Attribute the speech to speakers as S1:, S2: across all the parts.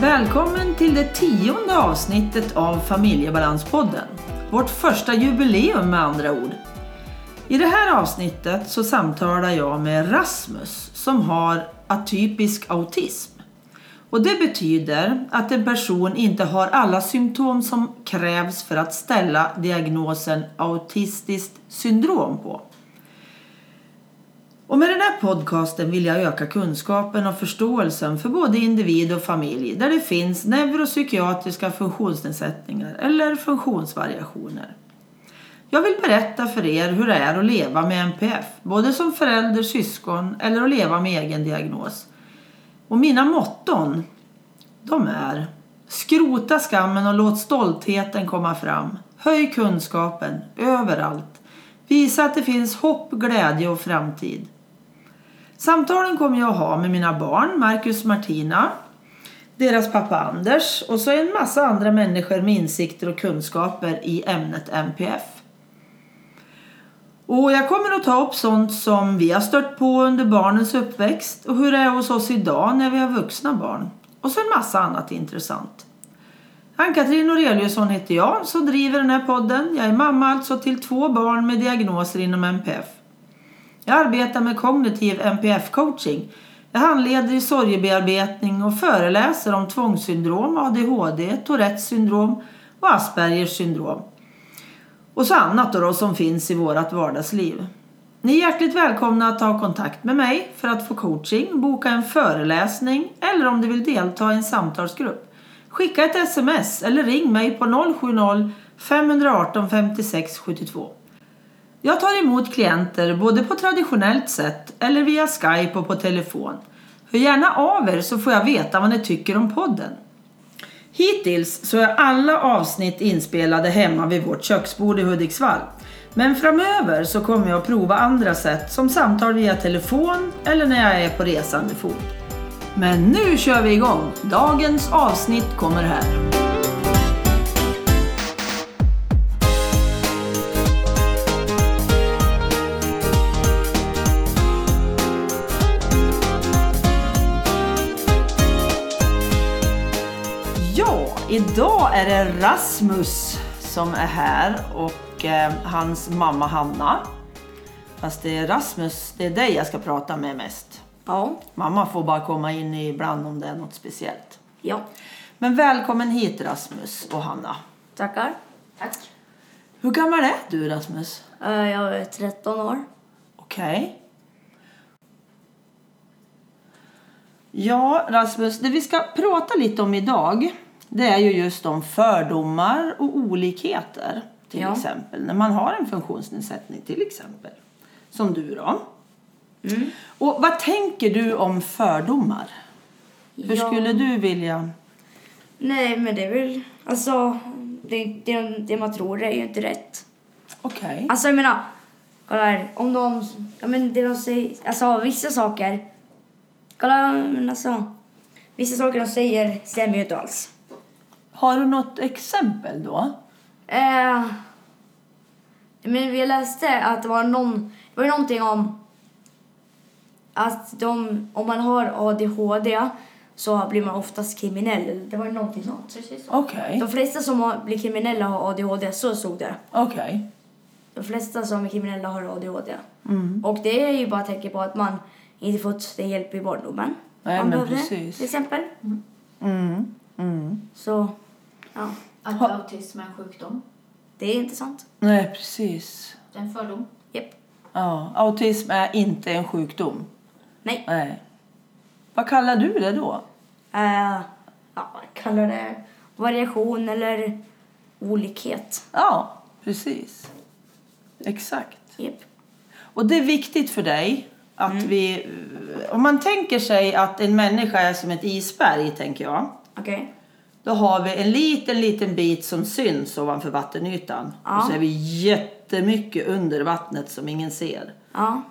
S1: Välkommen till det tionde avsnittet av Familjebalanspodden. Vårt första jubileum med andra ord. I det här avsnittet så samtalar jag med Rasmus som har atypisk autism. Och det betyder att en person inte har alla symptom som krävs för att ställa diagnosen autistiskt syndrom på. Och med den här podcasten vill jag öka kunskapen och förståelsen för både individ och familj där det finns neuropsykiatriska funktionsnedsättningar eller funktionsvariationer. Jag vill berätta för er hur det är att leva med NPF, både som förälder, syskon eller att leva med egen diagnos. Och mina motton, de är Skrota skammen och låt stoltheten komma fram. Höj kunskapen överallt. Visa att det finns hopp, glädje och framtid. Samtalen kommer jag att ha med mina barn, Marcus och Martina, deras pappa Anders och så en massa andra människor med insikter och kunskaper i ämnet MPF. Och jag kommer att ta upp sånt som vi har stött på under barnens uppväxt och hur det är hos oss idag när vi har vuxna barn. Och så en massa annat intressant. Ann-Katrin Aureliusson heter jag som driver den här podden. Jag är mamma alltså till två barn med diagnoser inom MPF. Jag arbetar med kognitiv NPF-coaching. Jag handleder i sorgebearbetning och föreläser om tvångssyndrom, ADHD, Tourettes syndrom och Aspergers syndrom. Och så annat då, då som finns i vårt vardagsliv. Ni är hjärtligt välkomna att ta kontakt med mig för att få coaching, boka en föreläsning eller om du vill delta i en samtalsgrupp. Skicka ett sms eller ring mig på 070 518 56 72. Jag tar emot klienter både på traditionellt sätt eller via Skype och på telefon. Hör gärna av er så får jag veta vad ni tycker om podden. Hittills så är alla avsnitt inspelade hemma vid vårt köksbord i Hudiksvall. Men framöver så kommer jag att prova andra sätt som samtal via telefon eller när jag är på resande fot. Men nu kör vi igång! Dagens avsnitt kommer här. Ja, idag är det Rasmus som är här och eh, hans mamma Hanna. Fast det är Rasmus, det är dig jag ska prata med mest.
S2: Ja.
S1: Mamma får bara komma in ibland om det är något speciellt.
S2: Ja.
S1: Men välkommen hit Rasmus och Hanna.
S2: Tackar. Tack.
S1: Hur gammal är du Rasmus?
S2: Eh, Jag är 13 år.
S1: Okej. Ja, Rasmus, det vi ska prata lite om idag det är ju just om fördomar och olikheter. Till
S2: Ja.
S1: exempel när man har en funktionsnedsättning till exempel. Som du då.
S2: Mm.
S1: Och vad tänker du om fördomar? Hur
S2: Ja.
S1: skulle du vilja...
S2: Nej, men det är väl... Alltså, det, det, det man tror är ju inte rätt.
S1: Okej.
S2: Alltså, jag menar... Kolla här. Om de... Ja, men det de säger... Alltså, vissa saker... Kolla, men alltså... Vissa saker de säger stämmer ju inte alls.
S1: Har du något exempel då?
S2: Eh, men vi läste att det var någon... Det var ju någonting om att de, om man har ADHD så blir man oftast kriminell. Det var ju någonting sånt.
S1: Okej.
S2: De flesta som har- blir kriminella har ADHD, så stod det.
S1: Okej.
S2: De flesta som är kriminella har ADHD.
S1: Mm.
S2: Och det är ju bara ett tecken på att man inte fått den hjälp i barndomen
S1: Nej,
S2: man
S1: men
S2: behövde,
S1: precis.
S2: till exempel.
S1: Mm. Mm.
S2: Så, ja.
S3: Att
S1: Ha-
S3: autism är en sjukdom.
S2: Det är intressant.
S1: Nej, precis.
S3: Det är en fördom.
S2: Japp.
S1: Ja, autism är inte en sjukdom.
S2: Nej.
S1: Nej. Vad kallar du det då?
S2: Eh, ja, vad kallar det variation eller olikhet.
S1: Ja, precis. Exakt.
S2: Japp.
S1: Och det är viktigt för dig att vi... Om man tänker sig att en människa är som ett isberg, tänker jag.
S2: Okej.
S1: Då har vi en liten, liten bit som syns ovanför vattenytan.
S2: Ja.
S1: Och så är vi jättemycket under vattnet som ingen ser.
S2: Ja.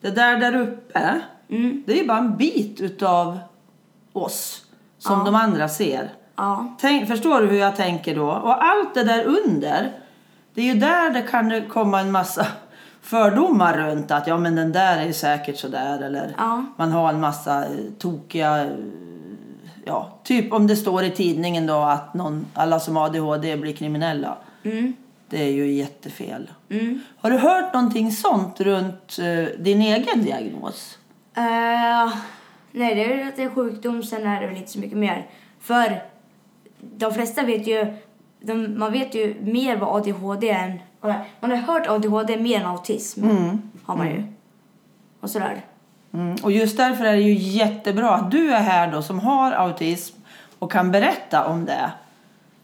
S1: Det där där uppe, det är ju bara en bit utav oss som de andra ser.
S2: Ja.
S1: Tänk, förstår du hur jag tänker då? Och allt det där under, det är ju där det kan det komma en massa fördomar runt att ja men den där är ju säkert sådär eller
S2: Ja.
S1: man har en massa eh, tokiga eh, ja, typ om det står i tidningen då att någon, alla som har ADHD blir kriminella. Det är ju jättefel. Har du hört någonting sånt runt eh, din egen diagnos?
S2: Eh, nej, det är väl att det är sjukdom, sen är det väl inte så mycket mer. För de flesta vet ju, de, man vet ju mer vad ADHD är än, man har hört ADHD mer än autism. Har man ju. Och sådär.
S1: Mm. Och just därför är det ju jättebra att du är här då som har autism och kan berätta om det.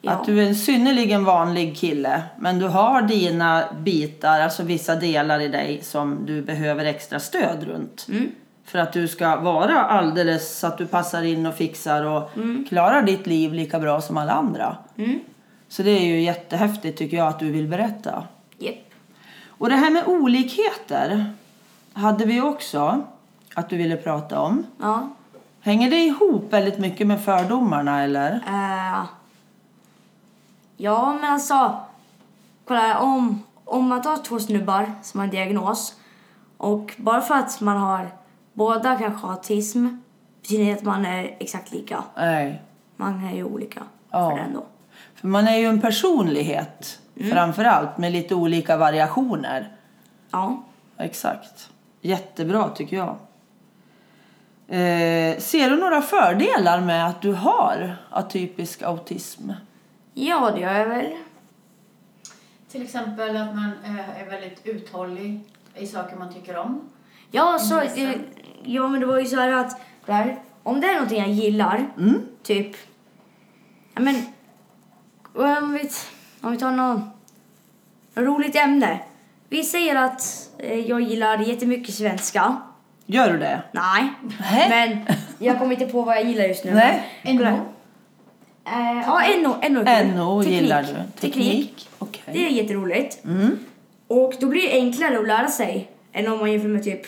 S2: Ja.
S1: Att du är en synnerligen vanlig kille men du har dina bitar, alltså vissa delar i dig som du behöver extra stöd runt. För att du ska vara alldeles så att du passar in och fixar och klarar ditt liv lika bra som alla andra. Så det är ju jättehäftigt tycker jag att du vill berätta.
S2: Japp.
S1: Och det här med olikheter hade vi också att du ville prata om.
S2: Ja.
S1: Hänger det ihop väldigt mycket med fördomarna eller?
S2: Eh, ja, men alltså... Kolla, här, om, om man tar två snubbar som har en diagnos och bara för att man har båda kanske autism betyder det inte att man är exakt lika.
S1: Nej.
S2: Man är ju olika
S1: Ja.
S2: för det ändå.
S1: För man är ju en personlighet
S2: Mm.
S1: framför allt med lite olika variationer.
S2: Ja.
S1: Exakt. Jättebra tycker jag. Eh, ser du några fördelar med att du har atypisk autism?
S2: ja, det gör jag väl.
S3: Till exempel att man eh, är väldigt uthållig i saker man tycker om.
S2: Ja, så, eh, ja men det var ju så här att där, om det är någonting jag gillar,
S1: Mm.
S2: typ... Ja, men, om, vi, om vi tar något roligt ämne. Vi säger att eh, jag gillar jättemycket svenska.
S1: Gör du det?
S2: Nej.
S1: Nej.
S2: Men jag kommer inte på vad jag gillar just nu.
S1: Nej.
S3: Ändå.
S2: Eh, ja, NO. NO, är kul.
S1: NO
S2: Teknik.
S1: gillar du?
S2: Teknik.
S1: Okej.
S2: Det är jätteroligt.
S1: Mm.
S2: Och då blir det enklare att lära sig än om man jämför med typ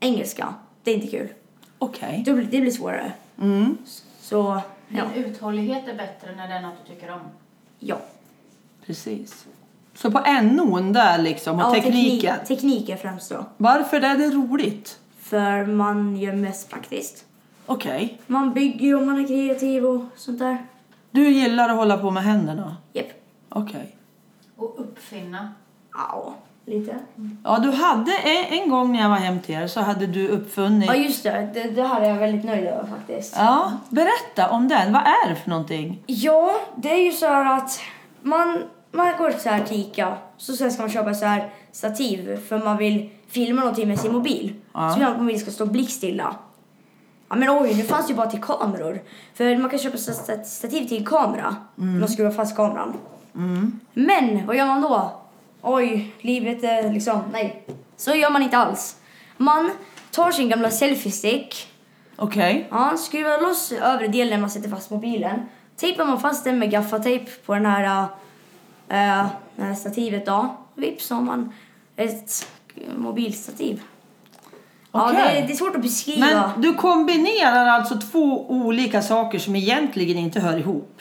S2: engelska. Det är inte kul.
S1: Okej.
S2: Då blir, det blir svårare.
S1: Mm.
S2: Så,
S3: Din
S2: ja.
S3: uthållighet är bättre när det är något du tycker om.
S2: ja.
S1: Precis. Så på NOn där liksom och
S2: ja
S1: tekniken.
S2: Teknik, teknik är främst då.
S1: Varför är det roligt?
S2: För man gör mest praktiskt.
S1: Okej.
S2: Man bygger och man är kreativ och sånt där.
S1: Du gillar att hålla på med händerna?
S2: Japp.
S1: Okej.
S3: Och uppfinna.
S2: Ja, lite.
S1: Ja, du hade e, en, en gång när jag var hem till er så hade du uppfunnit...
S2: Ja, just det. Det, det här är jag väldigt nöjd över faktiskt.
S1: Ja, berätta om den. Vad är det för någonting?
S2: Ja, det är ju så här att man, man går så här till Ica så sen ska man köpa så här stativ för man vill filma någonting med sin mobil.
S1: Ja.
S2: Så vill man att mobilen ska stå blickstilla. Ja men oj, nu fanns det ju bara till kameror. För man kan köpa så här stat- stativ till en kamera. Man skruvar fast kameran. Men vad gör man då? Oj, livet är liksom, nej. Så gör man inte alls. Man tar sin gamla selfiestick
S1: Okej.
S2: Ja, skruvar loss övre delen man sätter fast mobilen. Tejpar man fast den med gaffatejp på den här, eh, det här stativet då. Vips har man ett mobilstativ. Ja, det,
S1: Okej.
S2: är- det är svårt att beskriva.
S1: Men du kombinerar alltså två olika saker som egentligen inte hör ihop.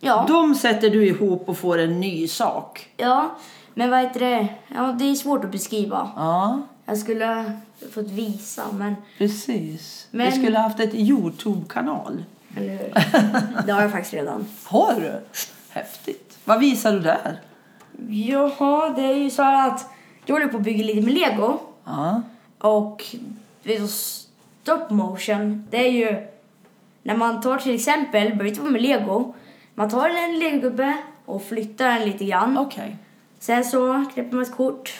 S2: ja,
S1: De sätter du ihop och får en ny sak.
S2: ja, men vad heter det? Ja, det är svårt att beskriva.
S1: Ja,
S2: Jag skulle fått visa, men...
S1: precis. Vi
S2: Men-
S1: skulle haft ett Youtube-kanal.
S2: Eller hur? Det har jag faktiskt redan.
S1: Har du? Häftigt. Vad visar du där?
S2: Jaha, det är ju så här att jag håller på att bygga lite med lego.
S1: Ja.
S2: Och vet du, stop motion, det är ju när man tar till exempel, behöver inte vara med lego, man tar en legogubbe och flyttar den lite grann.
S1: Okej.
S2: Sen så knäpper man ett kort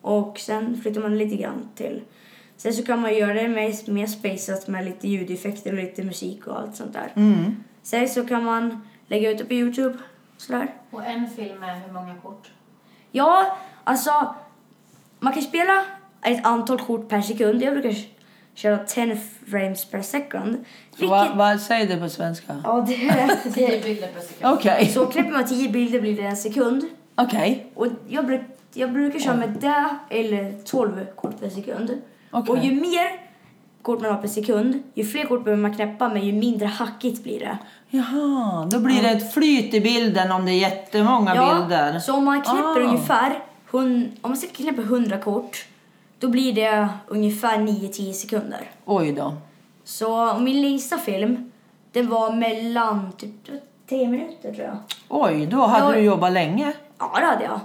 S2: och sen flyttar man lite grann till. Sen så kan man göra det med mer spaceat med lite ljudeffekter och lite musik och allt sånt där.
S1: Mm.
S2: Sen så kan man lägga ut det på Youtube sådär.
S3: Och en film är hur många kort?
S2: Ja, alltså man kan spela ett antal kort per sekund. Jag brukar köra 10 frames per second. Vilket,
S1: Vad va, säg det på svenska.
S2: Ja, det är
S3: Tio bilder per sekund.
S1: Okej.
S2: Så knäpper man 10 bilder blir det en sekund.
S1: Okej.
S2: Och jag, bruk, jag brukar köra med det eller 12 kort per sekund.
S1: Okej.
S2: Och ju mer kort man har per sekund, ju fler kort behöver man knäppa men ju mindre hackigt blir det.
S1: Jaha, då blir det ett flyt i bilden om det är jättemånga bilder.
S2: så om man knäpper
S1: Ah.
S2: ungefär, hun, om man knäpper 100 kort, då blir det ungefär 9-10 sekunder.
S1: Oj då.
S2: Så min längsta film Den var mellan typ tio minuter tror jag.
S1: Oj, då hade
S2: Ja.
S1: du jobbat länge.
S2: Ja, det hade jag.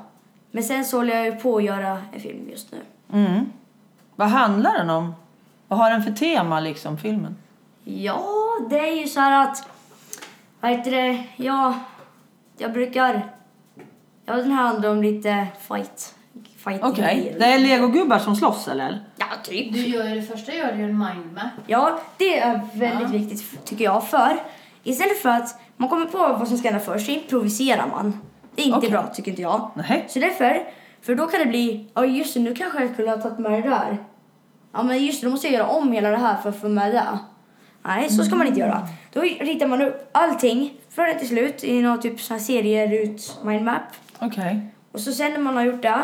S2: Men sen så håller jag ju på att göra en film just nu.
S1: Mm. Vad handlar den om? Vad har den för tema, liksom, filmen?
S2: Ja, det är ju så här att... Vad heter det? Ja, jag brukar... Ja, den här handlar om lite fight. fight
S1: Okej, det är legogubbar som slåss, eller?
S2: Ja, typ.
S3: Du gör ju det första gör du ju en mindmap.
S2: Ja, det är väldigt viktigt tycker jag. För istället för att man kommer på vad som ska hända först så improviserar man. Det är inte
S1: Okej.
S2: bra tycker inte jag.
S1: Nej.
S2: Så därför, för då kan det bli, ja just det, nu kanske jag skulle ha tagit med det där. Ja men just det, då måste jag göra om hela det här för att få med det. Nej, så ska man inte göra. Då ritar man upp allting från det till slut i någon typ sån här serier ut mindmap.
S1: Okej.
S2: Och så sen när man har gjort det,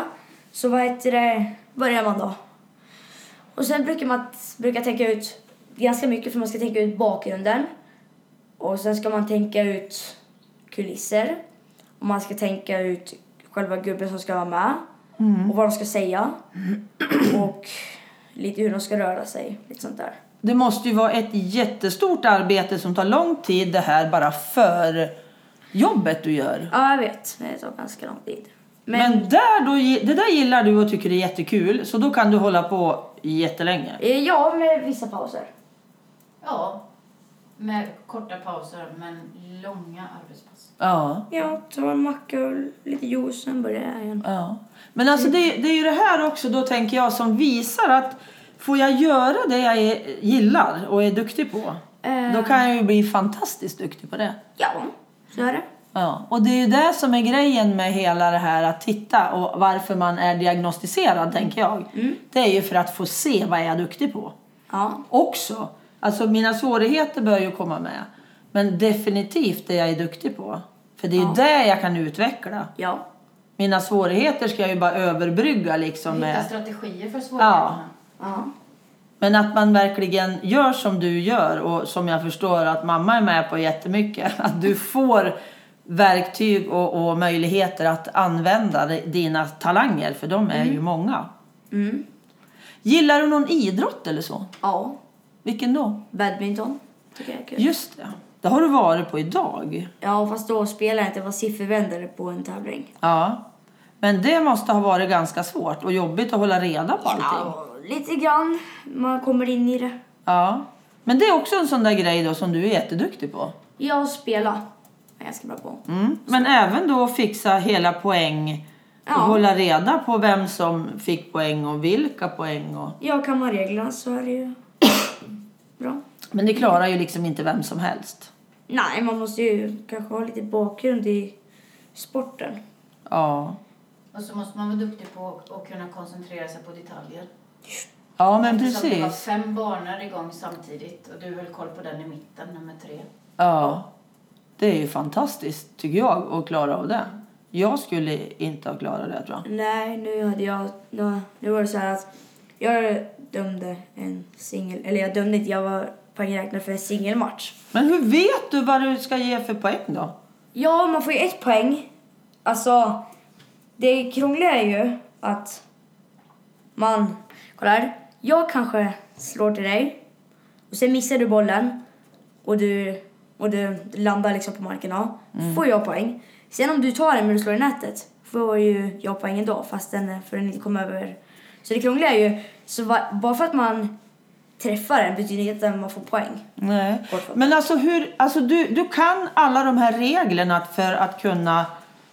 S2: så vad heter det, börjar man då. Och sen brukar man brukar tänka ut ganska mycket för man ska tänka ut bakgrunden. Och sen ska man tänka ut kulisser. Och man ska tänka ut själva gubben som ska vara med. Och vad de ska säga. Och lite hur de ska röra sig. Lite sånt där.
S1: Det måste ju vara ett jättestort arbete som tar lång tid det här bara för jobbet du gör.
S2: Ja, jag vet. Det tar ganska lång tid. Men,
S1: Men, där då, gi- det där gillar du och tycker är jättekul så då kan du hålla på jättelänge.
S2: eh, ja, med vissa pauser.
S3: Ja. Med korta pauser men långa arbetspass.
S1: Ja.
S2: Ja, ta en macka och lite juice, sen börjar jag igen.
S1: ja. Men alltså det, det är ju det här också då tänker jag som visar att får jag göra det jag är, gillar och är duktig på
S2: Eh.
S1: då kan jag ju bli fantastiskt duktig på det.
S2: Ja, så är det.
S1: Ja, och det är ju det som är grejen med hela det här att titta och varför man är diagnostiserad tänker jag.
S2: Mm.
S1: Det är ju för att få se vad jag är duktig på.
S2: Ja.
S1: också. Alltså mina svårigheter bör ju komma med. Men definitivt det jag är duktig på. För det är ju
S2: Ja.
S1: det jag kan utveckla.
S2: Ja.
S1: Mina svårigheter ska jag ju bara överbrygga liksom
S3: Hitta
S1: med.
S3: strategier för
S1: Ja.
S3: svårigheterna.
S2: Ja.
S1: Men att man verkligen gör som du gör och som jag förstår att mamma är med på jättemycket. Att du får verktyg och, och möjligheter att använda di- dina talanger för de är ju många.
S2: Mm.
S1: Gillar du någon idrott eller så?
S2: Ja.
S1: Vilken då?
S2: Badminton tycker jag är kul.
S1: Just det, det har du varit på idag.
S2: Ja, fast då spelade jag inte. Jag var siffervändare på en tävling.
S1: Ja. Men det måste ha varit ganska svårt och jobbigt att hålla reda på allting. Ja.
S2: Ja, lite grann. Man kommer in i det.
S1: Men det är också en sån där grej då som du är jätteduktig på.
S2: Jag spelar. Jag är ganska bra på.
S1: Mm. Men även då fixa hela poäng och
S2: Ja.
S1: hålla reda på vem som fick poäng och vilka poäng. Och...
S2: Jag kan man reglerna så är det ju bra.
S1: Men det klarar ju liksom inte vem som helst.
S2: Nej, man måste ju kanske ha lite bakgrund i sporten.
S1: Ja.
S3: Och så måste man vara duktig på att kunna koncentrera sig på detaljer.
S1: Ja men
S3: Eftersom det var
S1: precis.
S3: fem banor igång samtidigt och du höll koll på den i mitten, nummer tre.
S1: Ja. Det är ju fantastiskt tycker jag att klara av det. Jag skulle inte ha klarat det tror jag.
S2: Nej, nu hade jag... Nu, nu var det så här att jag dömde en singel... Eller jag dömde inte, jag var poängräknare för en singelmatch.
S1: Men hur vet du vad du ska ge för poäng då?
S2: Ja, man får ju ett poäng. Alltså, det krångliga är ju att man... Kolla här. Jag kanske slår till dig och sen missar du bollen och du, och du landar liksom på marken. Ja. får jag poäng. Sen om du tar den men du slår i nätet får ju jag poäng ändå fast den, för den inte kom över. Så det krångliga är ju, så va, bara för att man träffar den betyder inte att man får poäng.
S1: Nej.
S2: Kortfattat.
S1: Men alltså, hur, alltså du, du kan alla de här reglerna för att kunna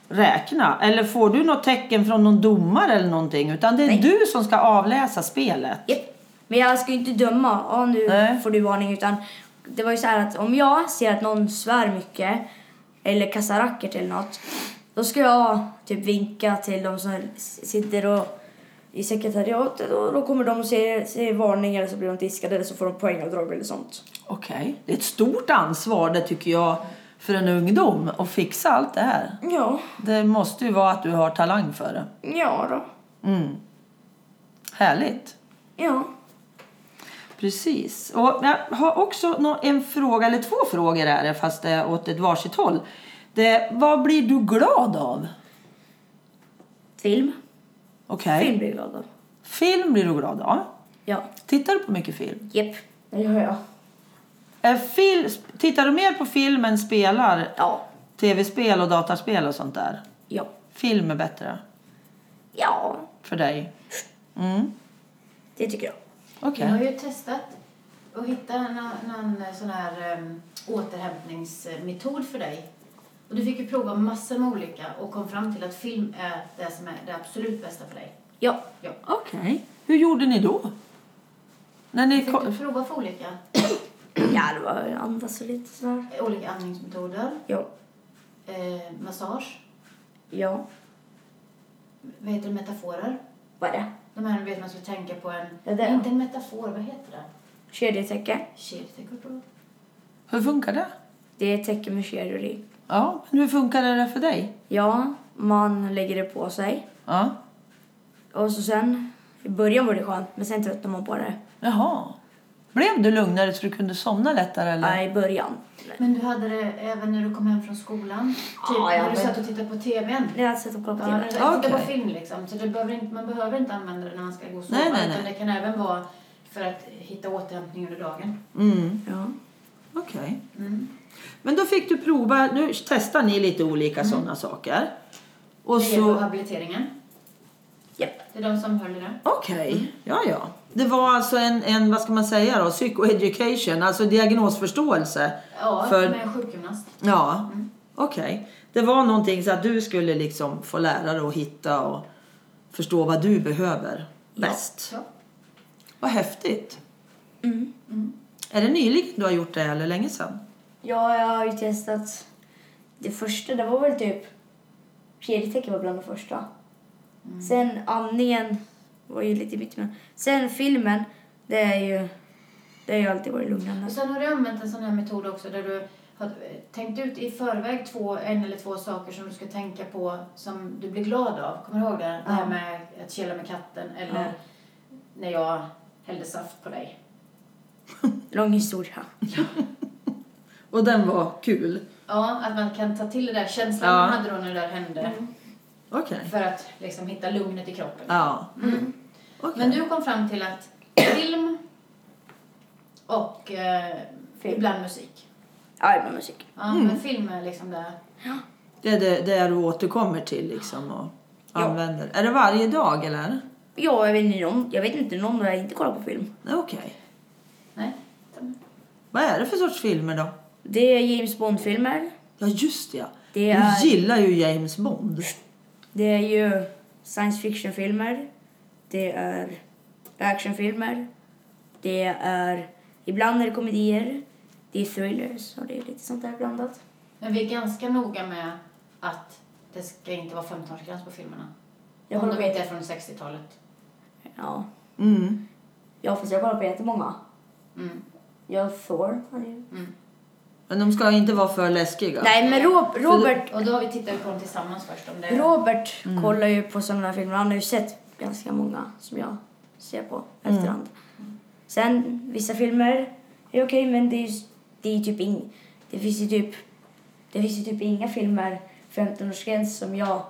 S1: räkna? Eller får du något tecken från någon domare eller någonting? Utan det är
S2: Nej.
S1: du som ska avläsa spelet?
S2: Japp. Men jag ska ju inte döma. Ja, nu
S1: Nej.
S2: får du varning. Utan det var ju så här att om jag ser att någon svär mycket eller kastar racket eller något. Då ska jag typ vinka till de som s- sitter och i sekretariatet och då kommer de och säger, säger varning eller så blir de diskade eller så får de poängavdrag eller sånt.
S1: Okej. Det är ett stort ansvar det tycker jag för en ungdom att fixa allt det här.
S2: Ja,
S1: Det måste ju vara att du har talang för det.
S2: ja då.
S1: Mm. Härligt.
S2: Ja.
S1: Precis. Och jag har också nå- en fråga, eller två frågor är det, fast det är åt ett varsitt håll. Det, vad blir du glad av?
S2: Film.
S1: Okej.
S2: Film blir jag glad av.
S1: Film blir du glad av.
S2: Ja.
S1: Tittar du på mycket film?
S2: Japp. Det gör jag.
S1: Eh, fil, tittar du mer på film än spelar?
S2: Ja.
S1: Tv-spel och dataspel och sånt där?
S2: Ja.
S1: Film är bättre
S2: Ja,
S1: för dig? Mm,
S2: det tycker jag.
S1: okej.
S3: Jag har ju testat att hitta någon, någon sån här um, återhämtningsmetod för dig. Och du fick ju prova massor med olika och kom fram till att film är det som är det absolut bästa för dig.
S2: Ja.
S3: Ja.
S1: Okej. Hur gjorde ni då? När ni
S3: Fick du
S1: kom...
S3: prova för olika,
S2: Ja, det var andas och lite sådär.
S3: olika andningsmetoder,
S2: Ja.
S3: eh, massage,
S2: Ja.
S3: vad heter det, metaforer?
S2: Vad är det?
S3: De här du vet man ska tänka på en...
S2: Ja, det är-
S3: inte en metafor, vad heter det?
S2: Kedjetäcke.
S3: Shit, jag kommer inte ihåg.
S1: Hur funkar det?
S2: Det är ett täcke med kedjor i.
S1: Ja, men hur funkade det för dig?
S2: Ja, man lägger det på sig.
S1: Ja.
S2: Och så sen, i början var det skönt, men sen tröttnar man på det.
S1: Jaha. Blev du lugnare så du kunde somna lättare eller?
S2: Ja, i början.
S3: Men du hade det även när du kom hem från skolan? Typ
S2: Ja, jag
S3: när du
S2: vet.
S3: satt och tittade på TVn?
S2: När jag satt och
S3: Ja,
S2: kollade på
S3: eller
S2: TV.
S3: titta på
S1: Okej.
S3: film liksom. Så det behöver inte, man behöver inte använda det när man ska gå och sova.
S1: Nej, nej,
S3: Utan
S1: nej.
S3: det kan även vara för att hitta återhämtning under dagen.
S1: Mm,
S2: Ja.
S1: okej.
S3: Mm.
S1: Men då fick du prova, nu testar ni lite olika sådana saker. Och
S3: Mm. det gäller
S1: så...
S3: habiliteringen.
S2: Japp.
S3: Det är de som höll i det.
S1: Okej, ja ja. Det var alltså en, en, vad ska man säga då, psychoeducation, alltså diagnosförståelse.
S3: Ja,
S1: För-
S3: med en sjukgymnast.
S1: Ja, okej. Det var någonting så att du skulle liksom få lära dig att hitta och förstå vad du behöver
S2: Ja.
S1: bäst.
S3: Ja.
S1: Vad häftigt.
S2: Mm.
S1: Är det nyligen du har gjort det eller länge sedan?
S2: Ja, jag har ju testat. Det första, det var väl typ... Kedjetecken var bland det första. Sen andningen var ju lite mitt emellan. Sen filmen, det är ju... Det har ju alltid varit lugnande.
S3: Och sen har du använt en sån här metod också där du har eh, tänkt ut i förväg två, en eller två saker som du ska tänka på som du blir glad av. Kommer du ihåg det? Det här
S2: Ja.
S3: med att kela med katten eller
S2: Ja.
S3: när jag hällde saft på dig.
S2: Lång historia.
S1: Och den var kul.
S3: Ja, att man kan ta till det där känslan
S1: Ja.
S3: man hade då när det där hände
S2: Mm.
S1: Okej.
S3: för att liksom hitta lugnet i kroppen.
S1: Ja. Okej.
S3: Men du kom fram till att film och eh,
S2: Film. Mm.
S3: ibland musik.
S2: Ja, det var musik.
S3: Ja, men film är liksom det.
S1: Det är det, det är du återkommer till liksom och
S2: Ja.
S1: använder. Är det varje dag eller?
S2: Ja, jag vet inte någon, jag vet inte någon där jag inte kollar på film.
S1: Nej, Okej.
S3: Nej.
S1: Vad är det för sorts filmer då?
S2: Det är James Bond-filmer.
S1: Ja just det, ja.
S2: Det är-
S1: Du gillar ju James Bond.
S2: Det är ju science fiction-filmer. Det är actionfilmer. Det är... Ibland är det komedier. Det är thrillers och det är lite sånt där blandat.
S3: Men vi är ganska noga med att det ska inte vara 15-årsgräns på filmerna.
S2: Jag
S3: om
S2: kollar
S3: de
S2: på...
S3: inte är från 60-talet.
S2: Ja.
S1: Mm.
S2: ja, fast jag kollar på jättemånga.
S3: Mm.
S2: Jag Thor. han är ju-
S1: Men de ska inte vara för läskiga.
S2: Nej, men Rob- Robert...
S3: Och då har vi tittat på dem tillsammans först om det är...
S2: Robert kollar ju på sådana här filmer. Han har ju sett ganska många som jag ser på efterhand. Sen vissa filmer är okej, men det är ju det är ju typ ing, det finns ju typ det finns ju typ inga filmer 15-årsgräns som jag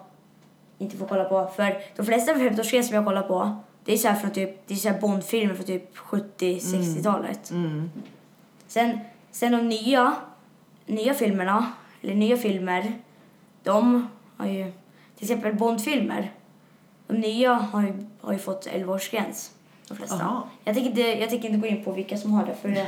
S2: inte får kolla på. För de flesta 15-årsgräns som jag kollar på det är så här från typ det är så här Bondfilmer från typ 70-60-talet.
S1: Mm.
S2: Sen, sen de nya, nya filmerna, eller nya filmer, de har ju, till exempel Bondfilmer, de nya har ju, har ju fått 11-årsgräns, de flesta.
S1: Aha.
S2: Jag tänker, inte, jag tänker inte gå in på vilka som har det, för det,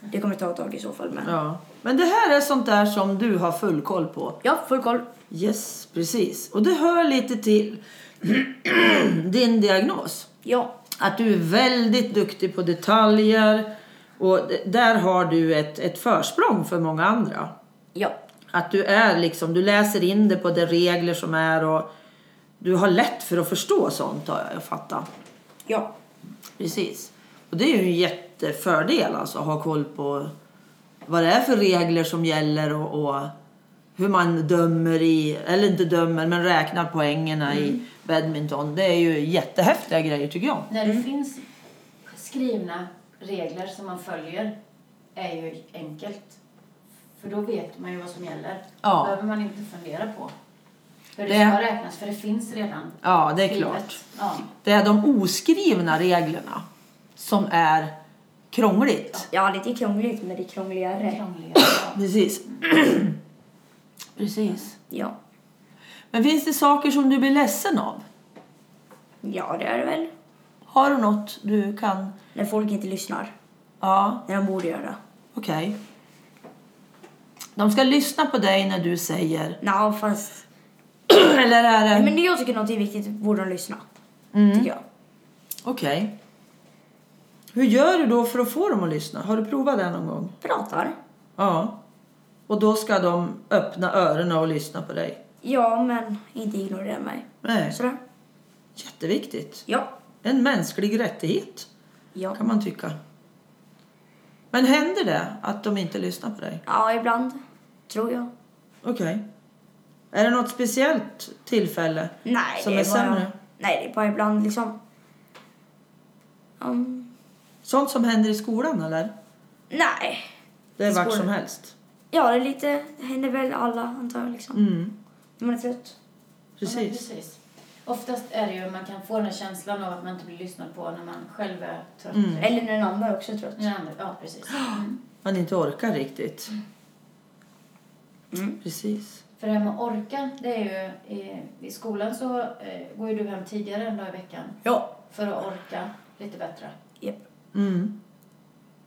S2: det kommer ta ett tag i så fall. Men
S1: Ja. Men det här är sånt där som du har full koll på.
S2: ja, full koll.
S1: Yes, precis. Och det hör lite till din diagnos.
S2: Ja,
S1: Att du är väldigt duktig på detaljer och d- där har du ett, ett försprång för många andra.
S2: ja,
S1: Att du är liksom, du läser in det på de regler som är och du har lätt för att förstå sånt har jag fattat.
S2: ja,
S1: Precis. Och det är ju en jättefördel alltså att ha koll på vad det är för regler som gäller och, och hur man dömer i, eller inte dömer, men räknar poängerna i badminton. Det är ju jättehäftiga grejer tycker jag.
S3: När det finns skrivna regler som man följer är ju enkelt. För då vet man ju vad som gäller.
S1: Ja.
S3: behöver man inte fundera på. För det,
S1: Det-
S3: ska räknas, för det finns redan.
S1: Ja, det är
S3: skrivet.
S1: klart.
S3: Ja.
S1: Det är de oskrivna reglerna som är krångligt.
S2: Ja, lite krångligt, men det är krångligare.
S3: Krångligare.
S1: Precis. Precis.
S2: Ja.
S1: Men finns det saker som du blir ledsen av?
S2: ja, det är det väl.
S1: Har du något du kan?
S2: När folk inte lyssnar.
S1: Ja,
S2: När de borde göra.
S1: okej. De ska lyssna på dig när du säger...
S2: Nå, fast...
S1: Eller är det...
S2: Nej, men det jag tycker något är viktigt borde de lyssna.
S1: Mm.
S2: Tycker jag.
S1: Okej. Hur gör du då för att få dem att lyssna? Har du provat det någon gång?
S2: Pratar.
S1: Ja. Och då ska de öppna öronen och lyssna på dig?
S2: Ja, men inte ignorera mig.
S1: Nej.
S2: Sådär.
S1: Jätteviktigt.
S2: Ja.
S1: En mänsklig rättighet,
S2: Ja.
S1: kan man tycka. Men händer det att de inte lyssnar på dig?
S2: Ja, ibland. Tror jag.
S1: Okej. Är det något speciellt tillfälle
S2: Nej,
S1: som
S2: det
S1: är,
S2: är, bara...
S1: sämre?
S2: Nej, det är bara ibland liksom. Um,
S1: Sånt som händer i skolan, eller?
S2: nej.
S1: Det är
S2: I
S1: vart som
S2: skolan.
S1: helst?
S2: Ja, det är lite... Det händer väl alla, antar jag. Liksom.
S1: Mm,
S2: Man är trött.
S3: Ja, men
S1: precis.
S3: precis. Oftast är det ju, man kan få den här känslan av att man inte blir lyssnad på när man själv är trött.
S1: Mm.
S2: Eller när den andra också är trött.
S3: Ja, men- Ja, precis. Mm.
S1: Man inte orkar riktigt.
S2: Mm.
S1: Precis.
S3: För det här med att orka, det är ju... I, i skolan så eh, går ju du hem tidigare en dag i veckan
S2: Ja.
S3: för att orka lite bättre.
S2: Japp.
S1: Mm.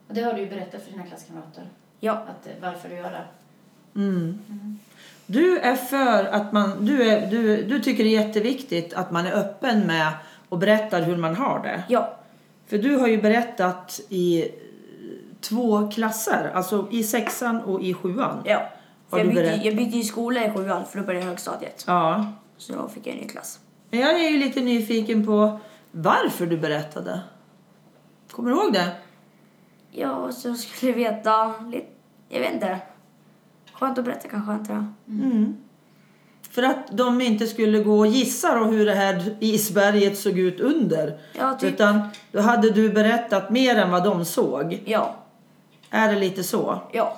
S3: Och det har du ju berättat för dina klasskamrater,
S2: Ja.
S3: att, eh, varför du gör det.
S1: Mm. Du är för att man, du, är, du, du tycker det är jätteviktigt att man är öppen med och berättar hur man har det.
S2: Ja.
S1: För du har ju berättat i eh, två klasser, alltså i sexan och i sjuan.
S2: ja.
S1: Har
S2: För jag,
S1: du
S2: bytte,
S1: berätt-
S2: jag bytte ju skola i sjuan för då började jag högstadiet.
S1: Ja.
S2: Så då fick jag en ny klass.
S1: Men jag är ju lite nyfiken på varför du berättade. Kommer du ihåg det?
S2: Ja, och så skulle jag veta lite... Jag vet inte. Skönt att berätta kanske, antar jag.
S1: Mm. För att de inte skulle gå och gissa då hur det här isberget såg ut under.
S2: Ja, typ.
S1: Utan då hade du berättat mer än vad de såg.
S2: Ja.
S1: Är det lite så?
S2: Ja.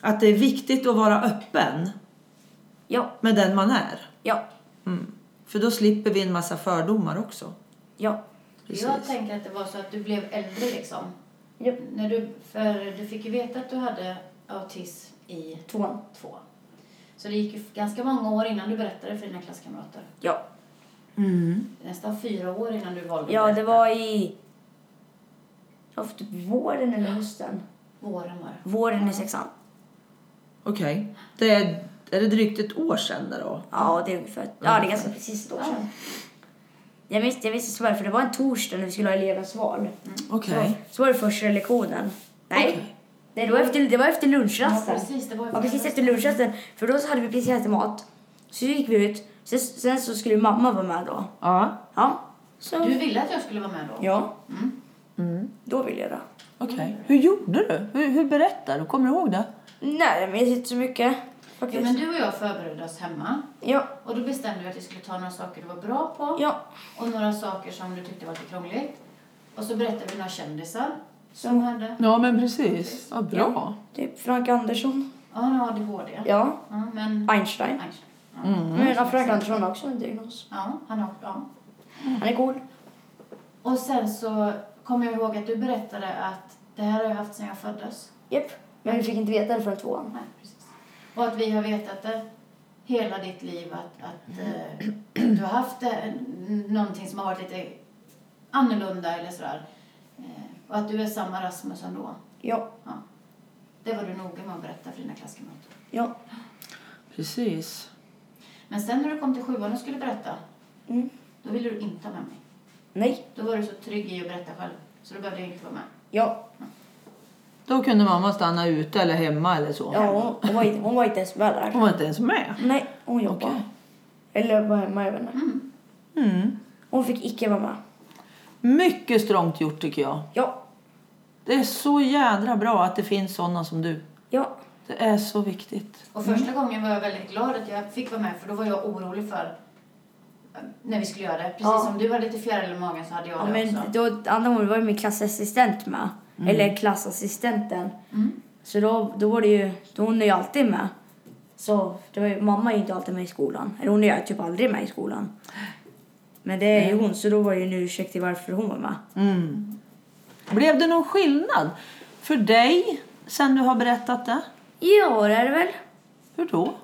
S1: Att det är viktigt att vara öppen
S2: Ja.
S1: med den man är.
S2: Ja.
S1: Mm. För då slipper vi en massa fördomar också.
S2: Ja.
S3: Jag
S1: Precis.
S3: tänker att det var så att du blev äldre liksom.
S2: Japp.
S3: När du, för du fick ju veta att du hade autism i
S2: Tvåan.
S3: två. Så det gick ju ganska många år innan du berättade för dina klasskamrater.
S2: Ja.
S1: Mm.
S3: Nästan fyra år innan du valde att
S2: Ja, det
S3: berätta.
S2: var i... Det var typ våren eller hösten.
S3: Våren var det.
S2: Våren i sexan.
S1: Okej. Det är, är det drygt ett år sedan då?
S2: Ja, det är ungefär... Ja, det är ganska precis ett år sedan. Jag visste, jag visste så väl, för det var en torsdag när vi skulle ha elevens val.
S1: Okej.
S2: Så, så var det första lektionen. Nej.
S1: Okej.
S2: Nej, det var efter, det var efter lunchrasten.
S3: Ja, precis, det var ju
S2: ja, precis
S3: första
S2: efter lunchrasten. För då så hade vi precis ätit mat. Så gick vi ut. Sen, sen så skulle mamma vara med då.
S1: Ja.
S2: Ja. Så.
S3: Du ville att jag skulle vara med då?
S2: Ja.
S3: Mm.
S2: Då ville jag det.
S1: Okej. Hur gjorde du? Hur, hur berättar du? Kommer du ihåg det?
S2: Nej, men jag minns inte så mycket.
S3: Jo,
S2: Faktiskt.
S3: men du och jag förberedde oss hemma
S2: Ja.
S3: och då bestämde vi att vi skulle ta några saker du var bra på
S2: Ja.
S3: och några saker som du tyckte var lite krångligt. Och så berättade vi några kändisar som
S2: Som-
S3: hade
S1: Ja, men precis. Vad bra.
S2: Typ Frank Andersson.
S3: ja, nu har ADHD.
S2: Ja. Mm.
S3: Ja, men...
S2: Einstein.
S3: Einstein. Ja.
S2: Men ja, Frank Andersson har också en diagnos.
S3: Ja, han har... Ja.
S2: Han är cool.
S3: Och sen så kommer jag ihåg att du berättade att det här har jag haft sedan jag föddes.
S2: Japp. Men vi fick inte veta det förrän tvåan.
S3: Nej, precis. Och att vi har vetat det hela ditt liv att, att eh, du har haft eh, någonting som har varit lite annorlunda eller sådär. Eh, och att du är samma Rasmus ändå.
S2: Ja.
S3: Ja. Det var du noga med att berätta för dina klasskamrater.
S2: Ja.
S1: Precis.
S3: Men sen när du kom till sjuan och skulle berätta,
S2: Mm.
S3: då ville du inte ha med mig.
S2: Nej.
S3: Då var du så trygg i att berätta själv, så då behövde jag inte vara med.
S2: Ja.
S1: Då kunde mamma stanna ute eller hemma eller så.
S2: Ja, hon, hon, var, inte, hon var inte ens med där.
S1: Hon var inte ens med.
S2: Nej, hon jobbade.
S1: Okej.
S2: Eller var hemma, jag vet inte.
S1: Mm.
S2: Hon fick icke vara med.
S1: Mycket strångt gjort tycker jag.
S2: Ja.
S1: Det är så jädra bra att det finns sådana som du.
S2: Ja.
S1: Det är så viktigt.
S2: Mm.
S3: Och första gången var jag väldigt glad att jag fick vara med för då var jag orolig för eh, när vi skulle göra det. Precis
S2: Ja.
S3: som du hade lite fjärilar i magen så hade jag
S2: ja
S3: det
S2: men
S3: också.
S2: då, andra gången var ju min klassassistent med. Eller klassassistenten.
S3: Mm.
S2: Så då, då var det ju, då hon är ju alltid med. Så det var ju, mamma är ju inte alltid med i skolan. Eller hon är ju typ aldrig med i skolan. Men det är ju hon, så då var det ju en ursäkt till varför hon var med.
S1: Mm. Blev det någon skillnad för dig sen du har berättat det?
S2: Ja, det är det väl.
S1: Hur då?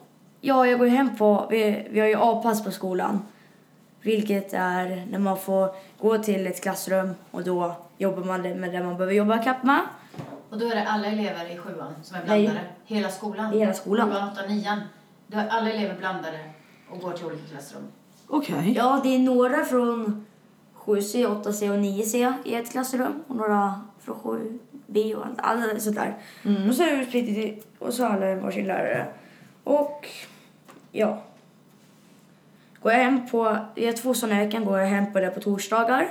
S2: Ja, jag går hem på... Vi, vi har ju avpass på skolan. Vilket är när man får gå till ett klassrum och då jobbar man med det man behöver jobba kapp med.
S3: Och då är det alla elever i sjuan som är
S2: Nej.
S3: blandade? Hela skolan?
S2: Hela skolan.
S3: Sjuan, åttan, nian? Då är alla elever blandade och går till olika klassrum?
S1: Okej.
S2: Ja, det är några från 7C, 8C och 9C i ett klassrum och några från 7B och allt, allt sådär. Och så är det utspritt i- och så har alla en varsin lärare. Och ja. Går jag hem på, jag har två sådana jag kan gå hem på det på torsdagar.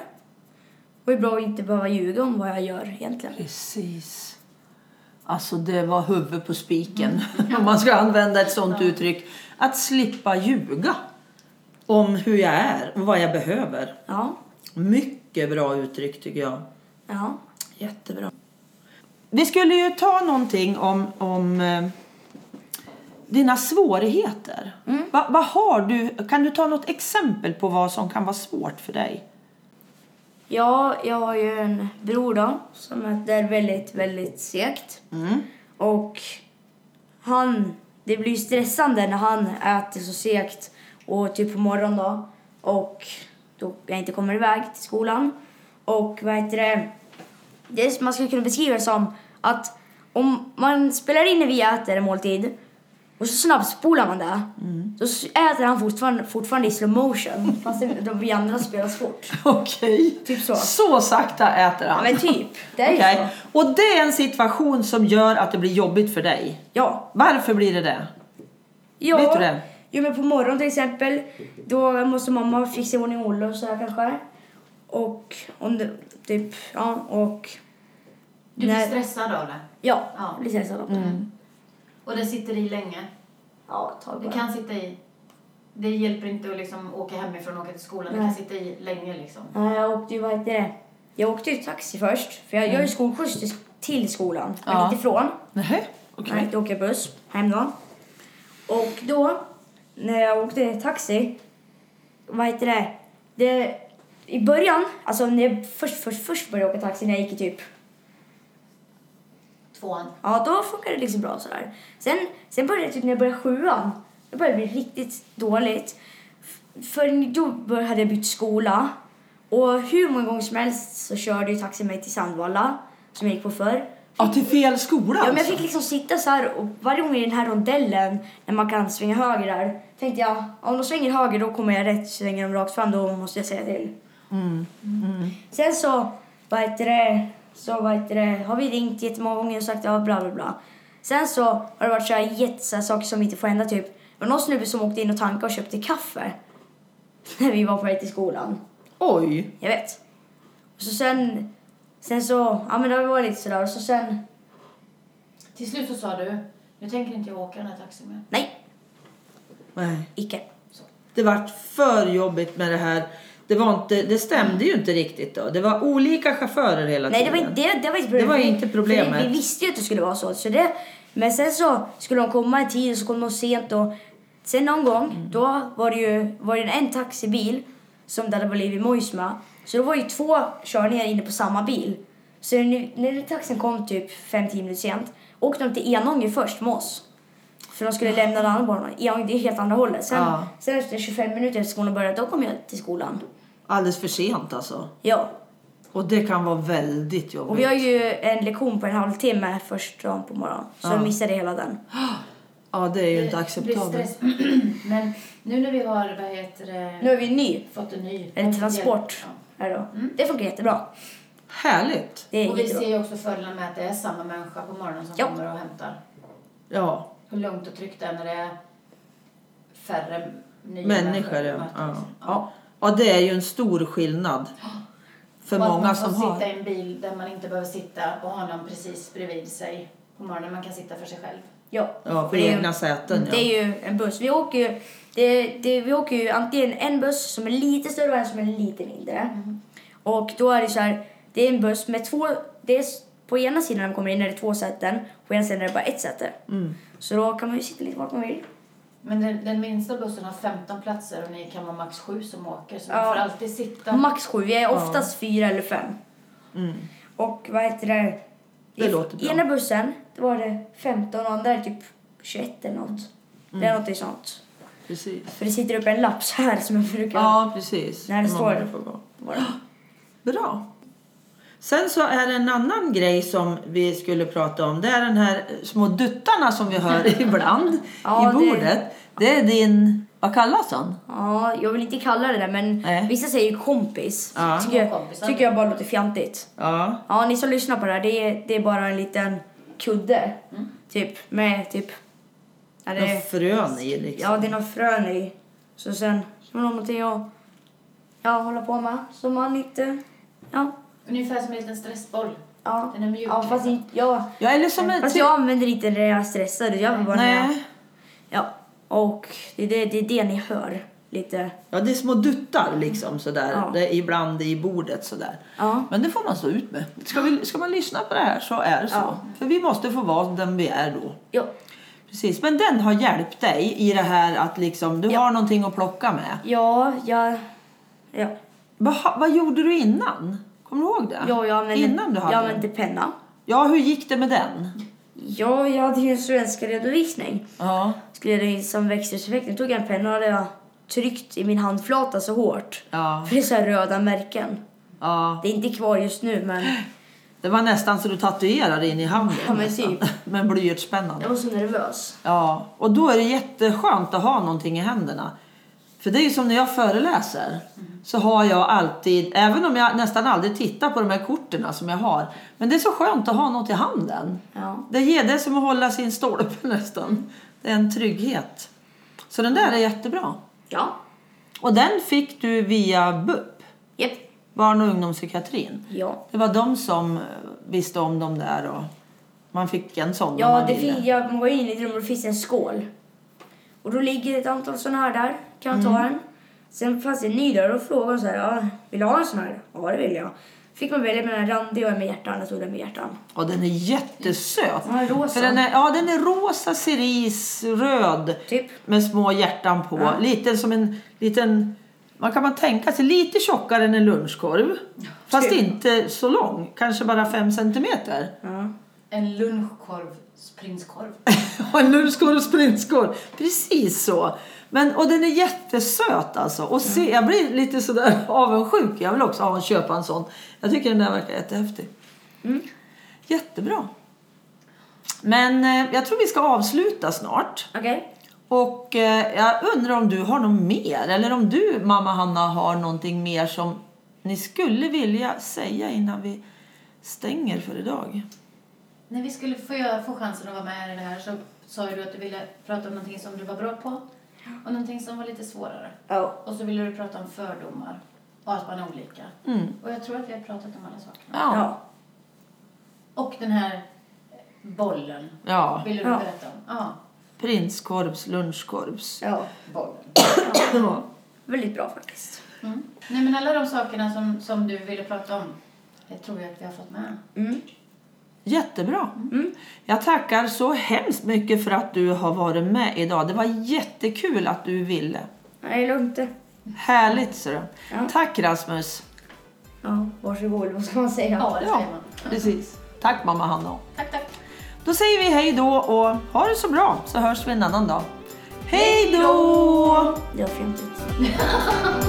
S2: Och det är bra att inte behöva ljuga om vad jag gör egentligen.
S1: Precis. Alltså det var huvudet på spiken, om man ska använda ett sånt uttryck. Att slippa ljuga om hur jag är och vad jag behöver.
S2: Ja,
S1: Mycket bra uttryck tycker jag.
S2: ja.
S1: Jättebra. Vi skulle ju ta någonting om, om eh, dina svårigheter.
S2: Mm.
S1: Va, vad har du, kan du ta något exempel på vad som kan vara svårt för dig?
S2: Ja, jag har ju en bror då som är- det är väldigt, väldigt segt. Och han, det blir ju stressande när han äter så segt och typ på morgonen då och då jag inte kommer iväg till skolan. Och vad heter det, det är som man skulle kunna beskriva det som att om man spelar in när vi äter en måltid och så snabbspolar man det, mm. då s- äter han fortfarande, fortfarande i slow motion fast det- de vi andra spelas fort.
S1: Okej.
S2: Typ så.
S1: Så sakta äter han.
S2: Ja, men typ. Det är ju
S1: Okej.
S2: så.
S1: Och det är en situation som gör att det blir jobbigt för dig.
S2: Ja.
S1: Varför blir det det?
S2: ja.
S1: Vet du det?
S2: Jo, men på morgonen till exempel, då måste mamma fixa i ordning Olle och så här kanske. Och om det, typ, ja, och...
S3: Du blir
S2: när-
S3: stressad av det?
S2: Ja,
S3: Ja.
S2: blir stressad av det.
S1: Mm.
S3: Och det sitter i länge?
S2: Ja, ett tag
S3: Det
S2: bara.
S3: kan sitta i... Det hjälper inte att liksom åka hemifrån och åka till skolan. Det
S2: Nej.
S3: kan sitta i länge liksom.
S2: Nej, jag åkte ju, vad heter Eh, det? Jag åkte ju taxi först, för jag gör ju skolskjuts till- till skolan, men
S1: Ja.
S2: inte från.
S1: Nej.
S2: Nej, då åker jag buss hem då. Och då, när jag åkte taxi, vad heter det? det I början, alltså när jag först, först, först började åka taxi, när jag gick i typ,
S3: Tvåan.
S2: ja då funkade det liksom bra sådär. Sen, sen började det typ när jag började sjuan, det började bli riktigt dåligt. F- För då bör- hade jag bytt skola och hur många gånger som helst så körde ju taxi mig till Sandvalla, som jag gick på förr.
S1: Ja, till fel skola
S2: Ja, men jag
S1: alltså.
S2: fick liksom sitta så här och varje gång i den här rondellen när man kan svänga höger där tänkte jag om de svänger höger då kommer jag rätt, svänger de rakt fram då måste jag säga till.
S1: Mm.
S2: Sen så, vad heter det, så vad heter det, har vi ringt jättemånga gånger och sagt ja bla bla bla. Sen så har det varit så här jätte så här saker som inte får hända typ. Det var någon snubbe som åkte in och tankade och köpte kaffe när vi var på väg till skolan.
S1: Oj.
S2: Jag vet. Och så sen, sen så, ja men det var lite sådär och så sen
S3: Till slut så sa du, nu tänker inte jag åka den här taxin mer.
S2: Nej,
S1: Nej.
S2: icke.
S1: Det vart för jobbigt med det här. Det, var inte, det stämde ju inte riktigt då. Det var olika chaufförer hela
S2: Nej, det
S1: tiden.
S2: var, inte, det, det var inte
S1: Det
S2: problemet.
S1: var inte
S2: För
S1: problemet.
S2: Vi, vi visste ju att det skulle vara så. så det, men sen så skulle de komma i tid och så kom de sent. Och, sen någon gång,
S1: Mm.
S2: då var det ju var det en taxibil som det hade blivit mojs med. Så då var det ju två körningar inne på samma bil. Så när, när taxin kom typ 5-10 minuter sent åkte de till Enånger först med oss. För de skulle
S1: Ah.
S2: lämna den andra banan. Enånger, det är helt andra hållet. Sen,
S1: Ja.
S2: sen efter 25 minuter efter skolan började, då kom jag till skolan.
S1: Alldeles för sent alltså.
S2: Ja.
S1: Och det kan vara väldigt jobbigt.
S2: Och vi har ju en lektion på en halvtimme först dagen på morgonen. Så jag missade hela den.
S1: Ja, det är ju
S2: Eh,
S1: inte
S3: Det blir
S1: acceptabelt.
S3: stress. Men nu när vi har, vad heter det,
S2: Nu är vi ny.
S3: fått en ny...
S2: En transport.
S3: Ja.
S2: Här då.
S1: Mm.
S2: Det funkar jättebra.
S1: Härligt.
S2: Det är
S3: Och vi
S2: jättebra.
S3: ser ju också fördelarna med att det är samma människa på morgonen som
S2: Ja.
S3: kommer och hämtar.
S1: Ja.
S3: Hur lugnt och tryggt det är när det är färre nya
S1: Människor,
S3: vi
S1: ja.
S3: möter,
S1: Ja.
S3: liksom.
S1: Ja. ja, det är ju en stor skillnad. För
S3: och att
S1: många
S3: man får
S1: som
S3: sitta
S1: har...
S3: i en bil där man inte behöver sitta och ha någon precis bredvid sig på morgonen. Man kan sitta för sig själv.
S2: Ja.
S1: Ja, på
S2: Det är ju-
S1: egna säten. Ja.
S2: Det är ju en buss. Vi åker ju, det, det, vi åker ju antingen en buss som är lite större och en som är lite mindre.
S1: Mm.
S2: Och då är det så här, det är en buss med två, det är, s- på ena sidan när man kommer in är det två säten, på ena sidan är det bara ett säte.
S1: Mm,
S2: Så då kan man ju sitta lite vart man vill.
S3: Men den, den minsta bussen har 15 platser och ni kan vara max 7 som åker. Så
S2: Ja.
S3: man får alltid sitta.
S2: Max sju, vi är oftast fyra eller fem. Och vad heter det?
S1: Mm. Det
S2: I
S1: låter bra.
S2: ena bussen det var det 15 och andra är typ 21 eller något. Det är
S1: Mm.
S2: någonting sånt.
S1: Precis.
S2: För det sitter upp en lapp så här som jag brukar...
S1: Ja, precis.
S2: När det
S1: Hur
S2: står-
S1: många får gå.
S2: vara.
S1: Bra. Sen så är det en annan grej som vi skulle prata om. Det är den här eh, små duttarna som vi hör ibland
S2: Ja,
S1: i
S2: det-
S1: bordet. Det... är din, vad kallas han?
S2: Ja, jag vill inte kalla det där men
S1: Nej.
S2: vissa säger ju kompis.
S1: Ja.
S2: Tycker, jag,
S3: Kompisar.
S2: tycker jag bara låter fjantigt.
S1: Ja,
S2: Ja, ni som lyssnar på det här, det är, det är bara en liten kudde. Typ med typ... Ja, det,
S1: några frön i liksom.
S2: ja, det är några frön i. Så sen har man någonting att ja, hålla på med. Så man inte... Ja.
S3: Ungefär som en liten stressboll.
S2: ja.
S3: Den är mjuk.
S2: Ja,
S1: liksom.
S2: fast, inte- jag,
S1: Ja, eller som en...
S2: fast jag använder inte det när jag är stressad. Jag vill bara när jag,
S1: Nej.
S2: Ja. Och det är det, det är det ni hör. Lite.
S1: Ja, det är små duttar liksom sådär.
S2: Ja.
S1: Det är ibland i bordet sådär.
S2: Ja.
S1: Men det får man stå ut med. Ska, vi, ska man lyssna på det här så är det så.
S2: Ja.
S1: För vi måste få vara den vi är då.
S2: Ja.
S1: Precis, men den har hjälpt dig i det här att liksom, du
S2: Ja.
S1: har någonting att plocka med.
S2: Ja, jag... Ja.
S1: Vad, ha- vad gjorde du innan? Kommer du ihåg det?
S2: Ja, jag använde,
S1: innan du hade
S2: jag
S1: den?
S2: använde penna.
S1: Ja, hur gick det med den?
S2: Ja, jag hade ju en svenska redovisning.
S1: Ja,
S2: Skulle jag redovisa som växthuseffekt. Nu tog jag en penna och hade jag tryckt i min handflata så hårt.
S1: ja,
S2: För det är så här röda märken.
S1: ja.
S2: Det är inte kvar just nu, men
S1: Det var nästan så du tatuerade in i handen.
S2: Ja, men
S1: nästan.
S2: typ.
S1: Med blyertspennande.
S2: jag var så nervös.
S1: Ja, och då är det jätteskönt att ha någonting i händerna. För det är ju som när jag föreläser. Så har jag alltid, även om jag nästan aldrig tittar på de här korten som jag har. Men det är så skönt att ha något i handen.
S2: Ja.
S1: Det ger det som att hålla sin stolpe nästan. Det är en trygghet. Så den där är jättebra.
S2: Ja.
S1: Och den fick du via BUP,
S2: Japp.
S1: barn och ungdomspsykiatrin.
S2: Ja.
S1: Det var de som eh, visste om dem där och man fick en sån om
S2: Ja,
S1: man
S2: det
S1: ville.
S2: fin- jag, man var inne i ett rum och det finns en skål. Och då ligger ett antal såna här där. Kan jag ta en? Sen fanns det en ny där och då frågade hon så här, ja, vill du ha en sån här? Ja, det vill jag. Fick man välja mellan randig och en med hjärtan. Jag tog den med hjärtan.
S1: Ja, den är jättesöt.
S2: Ja, rosa.
S1: För den är, ja, den är rosa, cerise, röd
S2: Typ.
S1: med små hjärtan på. Lite som en liten... Man kan man tänka sig lite tjockare än en lunchkorv. Fast
S2: Typ.
S1: inte så lång, kanske bara fem centimeter.
S2: Ja.
S3: En lunchkorv, prinskorv.
S1: Och en lunchkorv och sprintkorv. Precis så. Men, och den är jättesöt alltså. Och se, jag blir lite sådär avundsjuk. Jag vill också ha en, köpa en sån. Jag tycker den där verkar jättehäftig. Jättebra. Men eh, jag tror vi ska avsluta snart.
S2: Okej.
S1: Och eh, jag undrar om du har något mer? Eller om du, mamma Hanna, har någonting mer som ni skulle vilja säga innan vi stänger för idag?
S3: När vi skulle få, få chansen att vara med i det här så sa ju du att du ville prata om någonting som du var bra på och någonting som var lite svårare.
S2: Ja.
S3: Och så ville du prata om fördomar och att man är olika.
S1: Mm.
S3: Och jag tror att vi har pratat om alla sakerna.
S1: Ja.
S2: Ja.
S3: Och den här bollen
S1: ja.
S3: ville du
S2: Ja.
S3: berätta om. Ja,
S1: Prinskorvs, lunchkorvs.
S2: ja.
S3: bollen.
S1: Ja.
S2: Väldigt bra faktiskt.
S3: Mm. Nej men alla de sakerna som, som du ville prata om, det tror jag att vi har fått med.
S2: Mm.
S1: Jättebra. Mm. Jag tackar så hemskt mycket för att du har varit med idag. Det var jättekul att du ville.
S2: Nej, det är lugnt det.
S1: Härligt så.
S2: Ja.
S1: Tack Rasmus.
S2: Ja, varsågod. Vad ska man säga?
S3: Ja, det säger man.
S1: precis. Tack mamma Hanna.
S3: Tack, tack.
S1: Då säger vi hej då och ha det så bra så hörs vi en annan dag. Hej då!
S2: Det var fjantigt.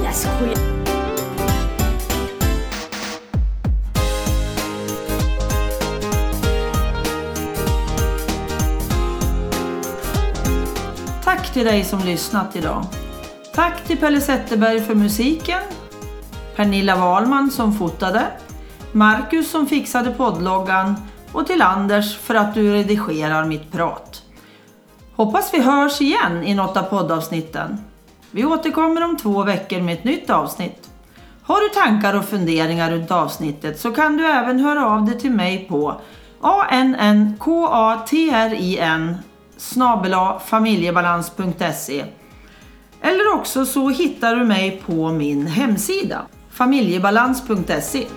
S2: Jag skojar.
S1: Tack till dig som lyssnat idag. Tack till Pelle Zetterberg för musiken, Pernilla Wahlman som fotade, Marcus som fixade poddloggan och till Anders för att du redigerar mitt prat. Hoppas vi hörs igen i något av poddavsnitten. Vi återkommer om två veckor med ett nytt avsnitt. Har du tankar och funderingar runt avsnittet så kan du även höra av dig till mig på annnkatrin snabela familjebalans.se eller också så hittar du mig på min hemsida familjebalans.se